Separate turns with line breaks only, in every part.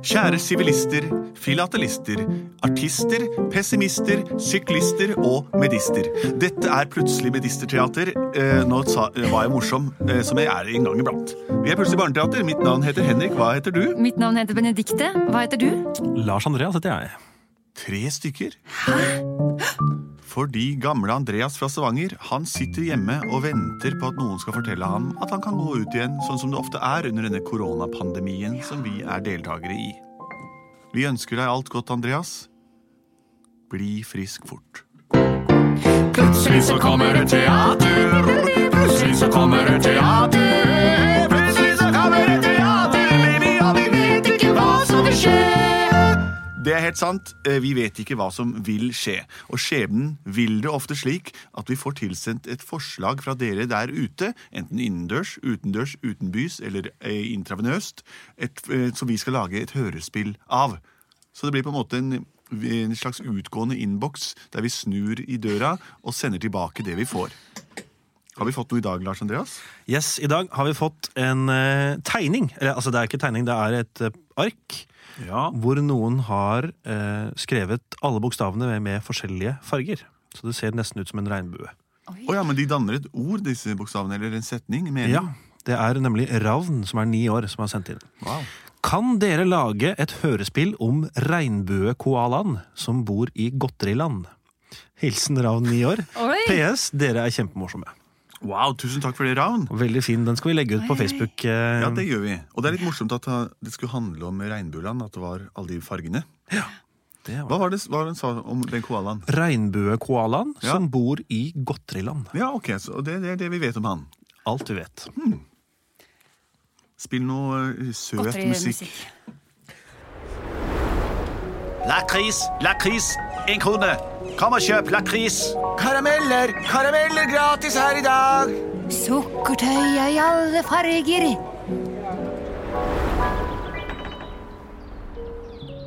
Kjære sivilister, filatelister, artister, pessimister, syklister og medister. Dette er plutselig Medisterteater. Eh, nå sa, var jeg morsom, eh, som jeg er en gang iblant. Vi er plutselig Barneteater. Mitt navn heter Henrik. Hva heter du?
Mitt navn heter Benedikte. Hva heter du?
Lars Andreas heter jeg.
Tre stykker. Fordi gamle Andreas fra Stavanger han sitter hjemme og venter på at noen skal fortelle ham at han kan gå ut igjen, sånn som det ofte er under denne koronapandemien som vi er deltakere i. Vi ønsker deg alt godt, Andreas. Bli frisk fort.
Plutselig så kommer det teater. Plutselig så kommer det teater. Plutselig så kommer det teater, baby, og vi vet ikke hva som vil skje.
Det er helt sant. Eh, Vi vet ikke hva som vil skje. Og skjebnen vil det ofte slik at vi får tilsendt et forslag fra dere der ute, enten innendørs, utendørs, utenbys eller eh, intravenøst, et, eh, som vi skal lage et hørespill av. Så det blir på en måte en, en slags utgående innboks der vi snur i døra og sender tilbake det vi får. Har vi fått noe i dag, Lars Andreas?
Yes, I dag har vi fått en eh, tegning. Eller altså, det er ikke tegning, det er et eh, ark.
Ja.
Hvor noen har eh, skrevet alle bokstavene med, med forskjellige farger. Så det ser nesten ut som en regnbue.
Å ja, men de danner et ord, disse bokstavene, eller en setning? Mener.
Ja, Det er nemlig Ravn, som er ni år, som har sendt inn.
Wow.
Kan dere lage et hørespill om regnbuekoalaen som bor i Godteriland? Hilsen Ravn ni år.
Oi.
PS, dere er kjempemorsomme.
wow, tusen takk for det, Ravn.
Veldig fin. Den skal vi legge ut på Facebook. eh,
Ja, det gjør vi. Og det er litt morsomt at uh, det skulle handle om regnbueland, at det var alle de fargene.
det var-
Hva var det hva var det hun sa om den koalaen?
Regnbuekoalaen
Ja.
som bor i Godteriland.
Ja, ok, så det, det er det vi vet om han.
Alt du vet.
Spill noe uh, søt musikk.
Godterimusikk.
Lakris, lakris, en krone. Kom og kjøp lakris.
Karameller! Karameller gratis her i dag!
Sukkertøy i alle farger.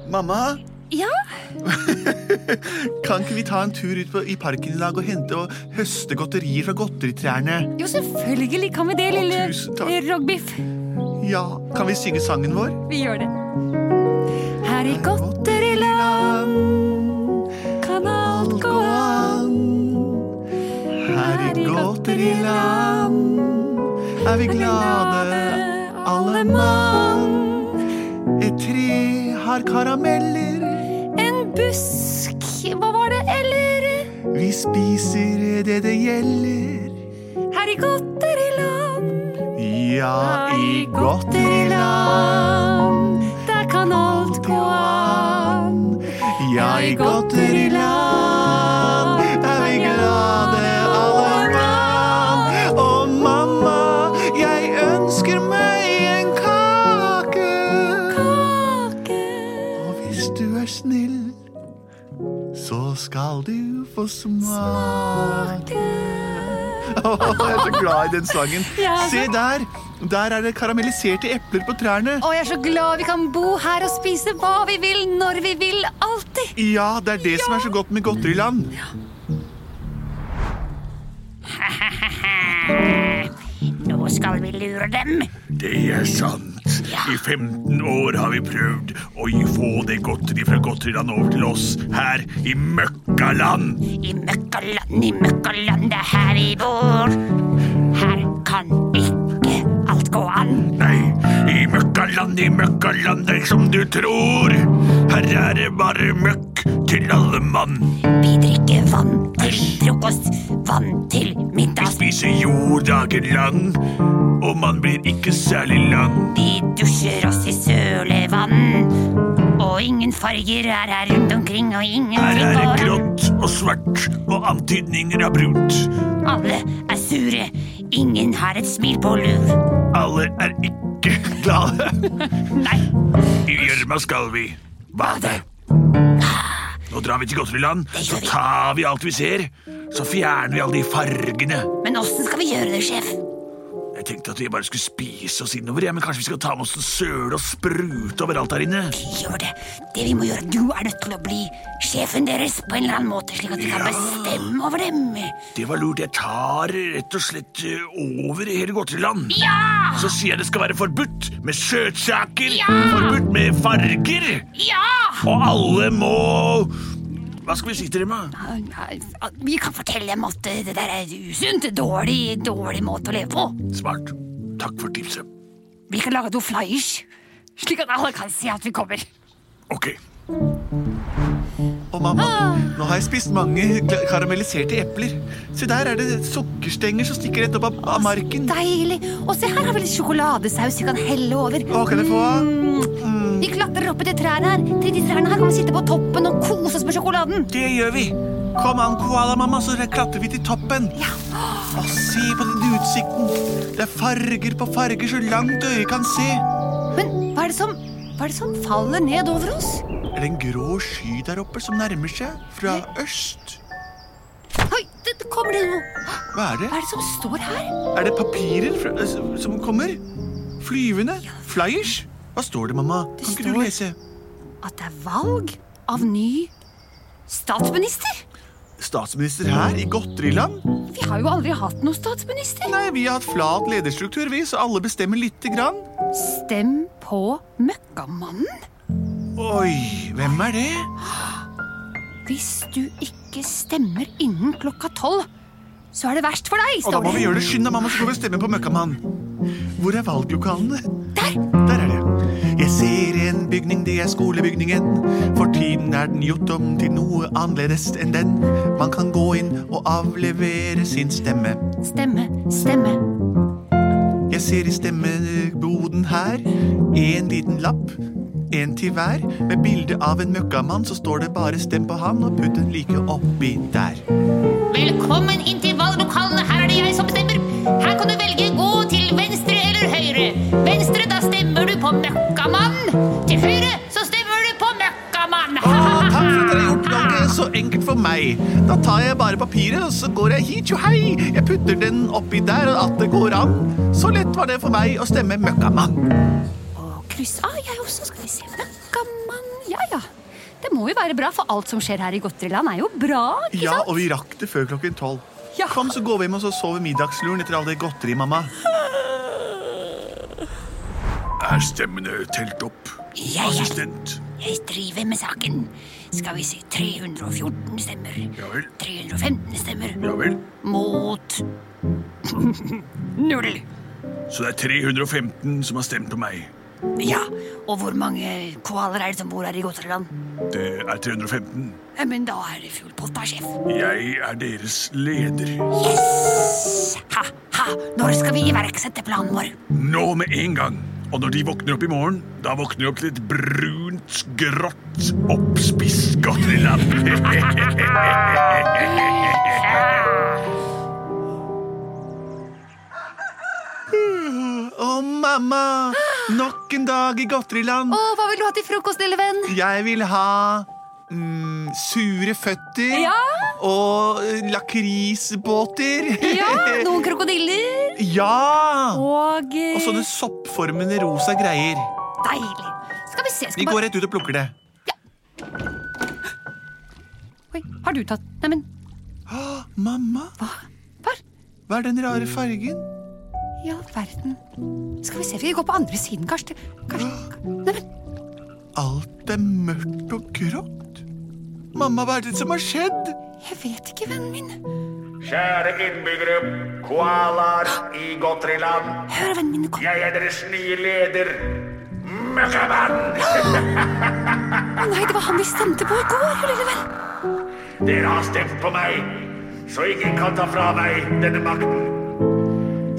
Mamma,
Ja,
kan ikke vi ta en tur ut på, i parken i dag og hente og høste godterier fra godteritrærne?
jo selvfølgelig kan vi det, lille
Tusen takk.
eh, rogbiff.
Ja, kan vi synge sangen vår?
Vi gjør det. Her i godteriland kan alt gå an.
Her i godteriland er vi glade, alle mann. Et tre har karameller.
En busk, hva var det, eller?
Vi spiser det det gjelder.
Her i godteriland,
Ja,
her
i
i
godteriland.
godteriland, der kan alt gå an.
Ja, i godteriland er vi glade alle mann. Og mamma, jeg ønsker meg en kake.
Kake.
Og hvis du er snill, så skal du få smake. Jeg er så glad i den sangen.
Ja,
Se der! Der er det karamelliserte epler på trærne.
Og jeg er så glad vi kan bo her og spise hva vi vil, når vi vil, alltid.
Ja, det er det som er så godt med godteriland.
Nå skal vi lure dem.
Det er sant. I 15 år har vi prøvd å gi- få det godteri fra godteriland over til oss her i møkkaland.
I møkkaland, i møkkaland, det er her vi bor. Her kan ikke alt gå an.
Nei, i møkkaland, i møkkaland, det er som du tror. Her er det bare møkk til alle mann.
Vi drikker vann til frokost, vann til
Vi
middag.
spiser jord dagen lang, og man blir ikke særlig lang.
Vi dusjer oss i sølevann. Og ingen farger er her rundt omkring, og
Her
ingenting
er det
går an.
grått og svart og antydninger av brunt.
Alle er sure, ingen har et smil på lur.
Alle er ikke
ikke glade. I gjørma skal vi bade. Nå drar vi til godteriland, så tar vi alt vi ser. Så fjerner vi alle de fargene.
Men åssen skal vi gjøre det, sjef?
Jeg tenkte at vi bare skulle spise oss innover, ja, men kanskje vi skal ta med oss en søle og sprute overalt her inne.
Gjør det. Det vi må gjøre, Du er nødt til å bli sjefen deres på en eller annen måte, slik at vi kan
Ja.
bestemme over dem.
Det var lurt. Jeg tar rett og slett eh, over hele godteriland.
Ja!
Så sier jeg det skal være forbudt med søtsaker,
Ja!
forbudt med farger,
Ja!
og alle må Hva skal vi si til dem, da?
Vi kan fortelle dem at eh, det der er usunt. Dårlig, dårlig måte å leve på.
Smart. Takk for tipset.
Vi kan lage noen flyers, slik at alle kan se at vi kommer.
Ok. Å, mamma,
Ah.
nå har jeg spist mange gla- karamelliserte epler. Se, der er det sukkerstenger som stikker rett opp av, av marken.
Deilig. Og se, her har vi litt sjokoladesaus vi kan helle over. Mm,
Å, kan jeg få av?
Vi klatrer opp i de trærne her. Til de trærne her kan vi sitte på toppen og kose oss med sjokoladen.
Det gjør vi. Kom an, koala, mamma, så klatrer vi til toppen. Å, se på den utsikten. Det er farger på farger så langt øyet kan se.
Men hva er det som, hva er det som faller ned over oss?
Er det en grå sky der oppe som nærmer seg fra øst?
Oi, det, det kommer det noe.
Hva er det?
Hva er det som står her?
Er det papirer fra, eh, som kommer? Flyvende? Flyers? Hva står det, mamma?
Det
Kan ikke du
står-
lese?
At det er valg av ny statsminister?
Statsminister her i godteriland?
Vi har jo aldri hatt noen statsminister.
Nei, vi har hatt flat lederstruktur, vi, så alle bestemmer lite grann.
Stem på Møkkamannen.
Oi, hvem er det?
Hvis du ikke stemmer innen klokka tolv, så er det verst for deg,
Og da
står
må vi
det.
gjøre det skynd deg, mamma, så går vi og stemmer på Møkkamann. Hvor er valglokalene?
Der!
Der er det. Jeg ser en bygning, det er skolebygningen. For tiden er den gjort om til noe annerledes enn den. Man kan gå inn og avlevere sin stemme.
Stemme, stemme.
Jeg ser i stemmeboden her en liten lapp. En til hver, med bilde av en møkkamann, så står det bare 'stem på han', og putt den like oppi der.
Velkommen inn til valglokalene. Her er det jeg som bestemmer. Her kan du velge gå til venstre eller høyre. Venstre, da stemmer du på Møkkamann. Til høyre, så stemmer du på Møkkamann.
Å, Ah, takk for at dere har gjort noe så enkelt for meg. Da tar jeg bare papiret, og så går jeg hit, jo hei. Jeg putter den oppi der, og at det går an. Så lett var det for meg å stemme møkkamann.
Og kryss av, ah, jeg også. Skal vi se. Møkkamann. Ja, ja. Det må jo være bra, for alt som skjer her i godteriland, er jo bra. ikke
Ja,
sant?
og vi rakk det før klokken tolv.
Ja.
Kom, så går vi hjem og så sover middagsluren etter all det godteri, mamma. Er stemmene telt opp?
Jeg, jeg,
Assistent.
jeg driver med saken. Skal vi si 314 stemmer.
Ja vel.
315 stemmer.
Ja vel.
Mot null.
Så det er 315 som har stemt på meg.
Ja, og hvor mange koaler er det som bor her i Godtreland?
Det er 315.
Ja, men da er det full pott da, sjef.
Jeg er deres leder.
Yes! Ha, ha! Når skal vi iverksette planen vår?
Nå med en gang. Og når de våkner opp i morgen, da våkner de opp til et brunt, grått, oppspist godteriland. Å, mamma! Nok en dag i godteriland.
Å, hva vil du ha til frokost, lille venn?
Jeg vil ha mm, sure føtter
Ja.
og eh, lakrisbåter.
Ja, Noen krokodiller
Ja!
og eh,
Og sånne soppformende rosa greier.
Deilig. Skal vi se. Skal
Vi
bare-
går rett ut og plukker det.
Oi, har du tatt Neimen,
Å, Mamma,
hva?
hva er den rare fargen?
I all verden. Skal vi se, vi går på andre siden, kanskje. kanskje. Neimen,
Alt er mørkt og grått. Mamma, hva er det som har skjedd?
jeg vet ikke, vennen min.
Kjære innbyggere, koalaer i godteriland.
Hør, vennen min, kom.
Jeg er deres nye leder, Møkkamann.
Å nei, det var han vi stemte på i går, lille venn.
Dere har stemt på meg, så ingen kan ta fra meg denne makten.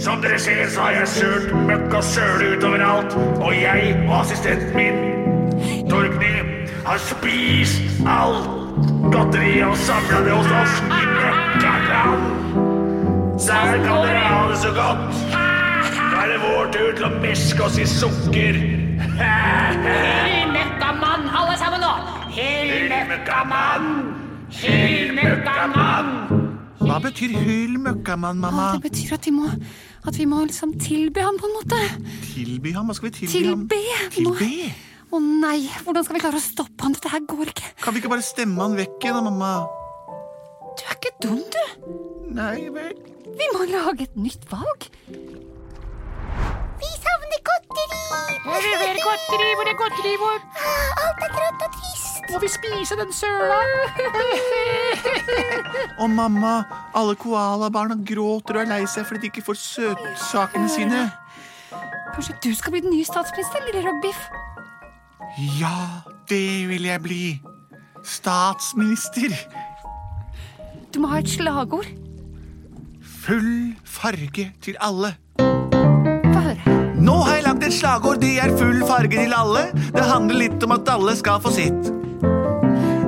Som dere ser, så har jeg sølt møkk og søle utover alt, og jeg og assistenten min, Torgny, har spist alt godteriet og samla det hos oss i Møkkaland. Der kan dere ha det så godt. Nå er det vår tur til å meske oss i sukker.
Hyl møkkamann, alle sammen nå! Hyl
Møkkamann! Hyl møkkamann!
Hva betyr hyl møkkamann, mamma?
Ah.
Det betyr at vi må, at vi må liksom tilby han på en måte.
Tilby ham? Hva skal vi tilby ham?
Tilbe! Nå-
Tilbe?
Å nei, hvordan skal vi klare å stoppe han? Dette her går ikke.
Kan vi ikke bare stemme han vekk igjen, da, mamma?
Du er ikke dum, du.
Nei vel.
Vi må lage et nytt valg.
Vi savner godteri!
Hvor er mer godteri? Hvor er godteri vårt?
Ah, Alt er grått og trist.
Må vi spise den søla?
Og mamma, alle koalabarna gråter og er lei seg fordi de ikke får søtsakene sine.
Kanskje du skal bli den nye statsministeren, lille Robbiff?
Ja, det vil jeg bli. Statsminister.
Du må ha et slagord.
Full farge til alle.
Få høre.
Nå har jeg lagt et slagord, det er full farge til alle. Det handler litt om at alle skal få sitt.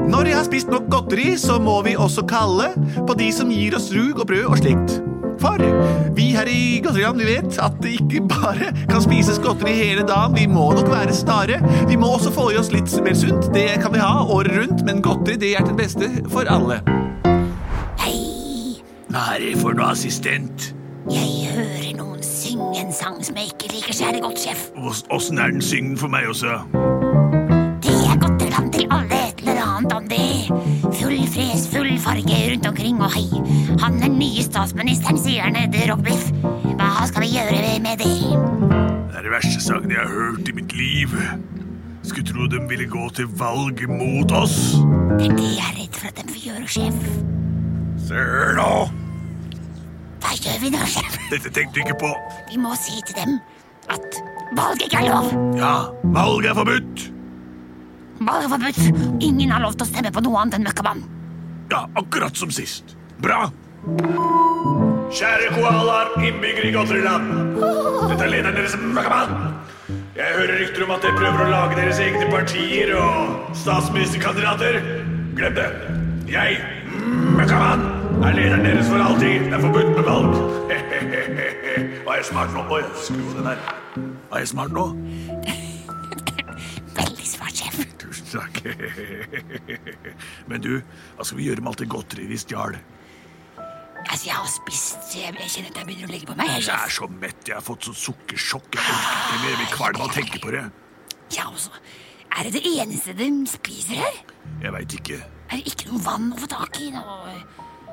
Når jeg har spist nok godteri, så må vi også kalle på de som gir oss rug og brød og slikt. For vi her i Godteriland vi vet at det ikke bare kan spises godteri hele dagen. Vi må nok være stare. Vi må også få i oss litt mer sunt. Det kan vi ha året rundt, men godteri det er til beste for alle.
Hei,
Nei, for noe assistent.
jeg hører noen synge en sang som jeg ikke liker særlig godt, sjef.
Åssen er den syngen for meg også?
Det er godteriland til alle et eller annet om det. Full fres, full farge rundt omkring og hei. Han den nye statsministeren sier han heter Robbiff. Hva skal vi gjøre med det?
Det er de verste sangene jeg har hørt i mitt liv. Skulle tro de ville gå til valg mot oss.
Det er det jeg er redd for at de vil gjøre, sjef.
Sør nå!
Hva gjør vi nå, sjef?
Dette tenkte du ikke på.
Vi må si til dem at valg ikke er lov.
Ja, valg er forbudt.
Valg er forbudt. Ingen har lov til å stemme på noe annet enn møkkamann.
Ja, akkurat som sist. Bra. Kjære koalaer, innbyggere i godteriland. Dette er lederen deres, Møkkamann. Jeg hører rykter om at dere prøver å lage deres egne partier og statsministerkandidater. Glem det. Jeg, Møkkamann, er lederen deres for alltid. Det er forbudt med valg. Var jeg smart nå? Oi, skru av den der. Var jeg smart nå?
Veldig svart, sjef.
Tusen takk. Men du, hva skal vi gjøre med alt det godteriet vi stjal?
Altså, jeg har spist, så jeg, jeg kjenner at jeg begynner å legge på meg. jeg,
Jeg er
sjef.
så mett. Jeg har fått sånn sukkersjokk. Jeg orker ikke mer. Jeg blir kvalm av å tenke på det.
Ja, også. Er det det eneste de spiser her?
Jeg veit ikke.
Er det ikke noe vann å få tak i? Noe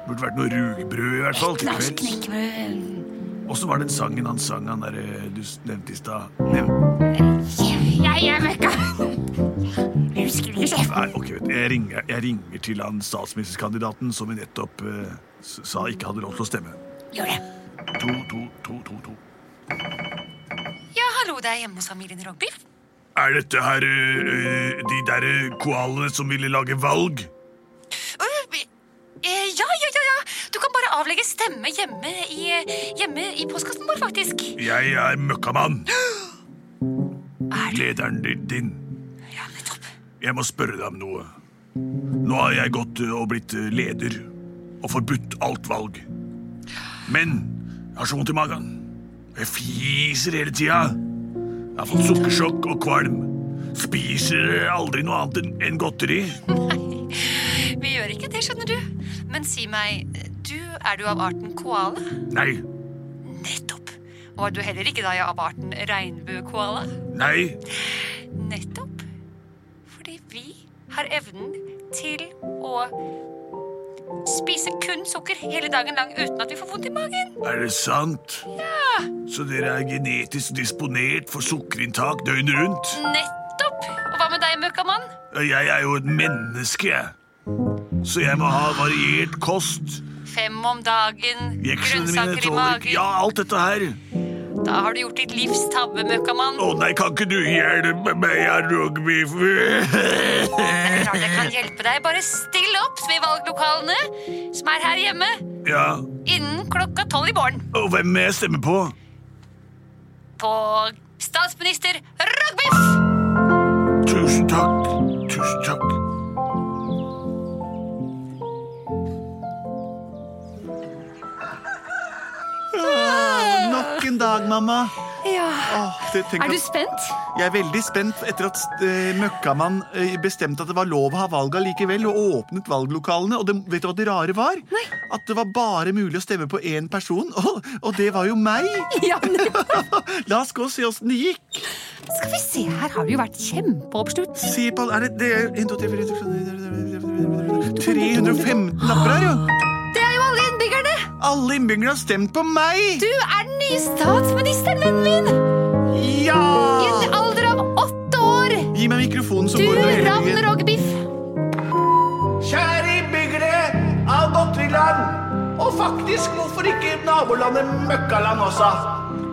Burde vært noe rugbrød i hvert fall. til
knasj,
kvelds.
knekkebrød
Åssen var den sangen han sang, han derre du nevnte i stad? Nev
Jeg er møkkamann. Husker du, sjef?
Nei, ok, vet du, jeg ringer, jeg ringer til han statsministerkandidaten som vi nettopp eh, s- sa ikke hadde lov til å stemme.
Gjør det.
To, to, to, to, to.
Ja, hallo, det er hjemme hos familien Robbiff.
Er dette her eh, eh, de derre koalene som ville lage valg?
Eh, ja, ja, ja, ja. Du kan bare avlegge stemme hjemme i, eh, hjemme i postkassen vår, faktisk.
Jeg er møkkamann.
Er du
Lederen din. din.
Ja, nettopp.
Jeg må spørre deg om noe. Nå har jeg gått ø, og blitt ø, leder og forbudt alt valg. Men jeg har så vondt i magen. Jeg fiser hele tida. Jeg har fått sukkersjokk og kvalm. Spiser aldri noe annet enn enn godteri.
Vi gjør ikke det, skjønner du. Men si meg, du er du av arten koala?
Nei,
Nettopp. Og er du heller ikke da av arten regnbuekoala?
nei,
Nettopp. Fordi vi har evnen til å spise kun sukker hele dagen lang uten at vi får vondt i magen.
er det sant? Så dere er genetisk disponert for sukkerinntak døgnet rundt?
Nettopp! Og hva med deg, møkkamann?
Jeg er jo et menneske, jeg. Så jeg må ha variert kost.
Fem om dagen,
Jeksene mine
grønnsaker i
tåler ikke
magen.
Ja, alt dette her.
Da har du gjort ditt livs tabbe, møkkamann.
Å nei, kan ikke du hjelpe meg, jeg
Det er
rugby?
klart jeg kan hjelpe deg. Bare still opp ved valglokalene som er her hjemme
ja,
innen klokka tolv i morgen
og hvem må jeg stemme på?
på statsminister Rogbiff!
Tusen takk, tusen takk.
Nok en dag, mamma. Åh, det- tenk
Er du
at-
spent?
Jeg er veldig spent etter at eh, Møkkamann eh, bestemte at det var lov å ha valg allikevel, og åpnet valglokalene. Og det, vet du hva det rare var?
Nei.
At det var bare mulig å stemme på én person, og, og det var jo meg!
Ja, men
La oss gå og se åssen det gikk.
skal vi se, her har det jo vært kjempeoppslutt.
Se på er det, det er 1, 2, 3, 4, 5, 315 lapper her, jo!
Det er jo alle innbyggerne!
Alle innbyggerne har stemt på meg!
Du er den nye statsministeren, vennen min! I
Ja!
en alder av åtte år!
Gi meg mikrofonen som
Du
går under hele byen.
ravner og biff.
Kjære innbyggere av Godteriland, og faktisk hvorfor ikke nabolandet Møkkaland også?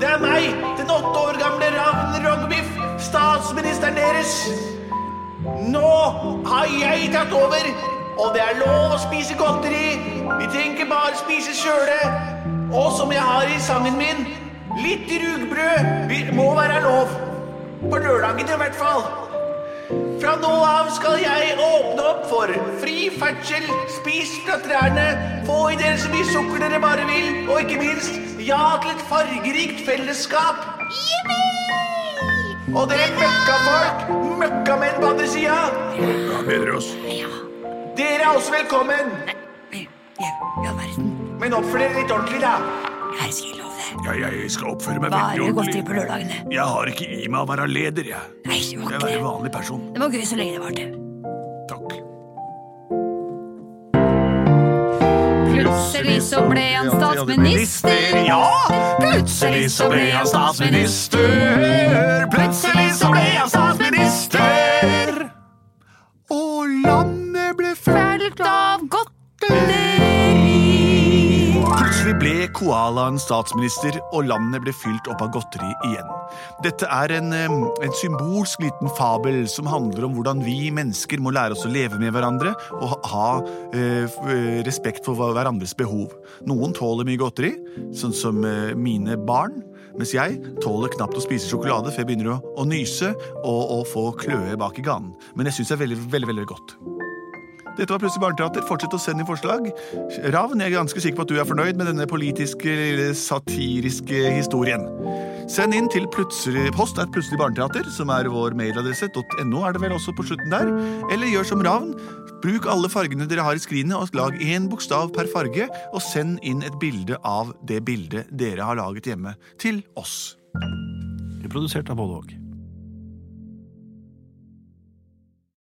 Det er meg, den åtte år gamle Ravn Rogbiff, statsministeren deres. Nå har jeg tatt over, og det er lov å spise godteri. Vi trenger ikke bare spise kjøle. Og som jeg har i sangen min, litt rugbrød vi må være lov. På lørdagene i hvert fall. Fra nå av skal jeg åpne opp for fri ferdsel, spis fra trærne, få i dere så mye sukker dere bare vil, og ikke minst ja til et fargerikt fellesskap. Og dere møkkafolk, møkkamenn på andre sida, dere er også velkommen.
Ja, ja, verden.
Men oppfør dere litt ordentlig, da.
Her skal jeg love deg.
Ja, jeg skal oppføre meg veldig
Bare godteri
ordentlig.
på lørdagene.
Jeg har ikke i meg å være leder, jeg.
Nei, det var
Jeg
ikke
er en
det.
vanlig person.
Det var gøy så lenge det varte.
Takk.
Plutselig så ble han statsminister.
Ja! Plutselig så ble jeg statsminister. Plutselig så ble jeg statsminister.
Og landet ble
Fullt av godteri.
Plutselig ble koalaen statsminister, og landet ble fylt opp av godteri igjen. Dette er en, eh, en symbolsk liten fabel som handler om hvordan vi mennesker må lære oss å leve med hverandre og ha- ha eh, f- eh, respekt for hva- hverandres behov. Noen tåler mye godteri, sånn som eh, mine barn, mens jeg tåler knapt å spise sjokolade før jeg begynner å, å nyse og, og få kløe bak i ganen. Men jeg syns det er veldig, veldig, veldig godt. Dette var Plutselig barneteater. Fortsett å sende inn forslag. Ravn, jeg er ganske sikker på at du er fornøyd med denne politiske, lille satiriske historien. Send inn til plutselig post er plutselig barneteater, som er vår mailadresse. .no er det vel også på slutten der. Eller gjør som Ravn. Bruk alle fargene dere har i skrinet, og lag én bokstav per farge, og send inn et bilde av det bildet dere har laget hjemme, til oss.
Produsert av både og.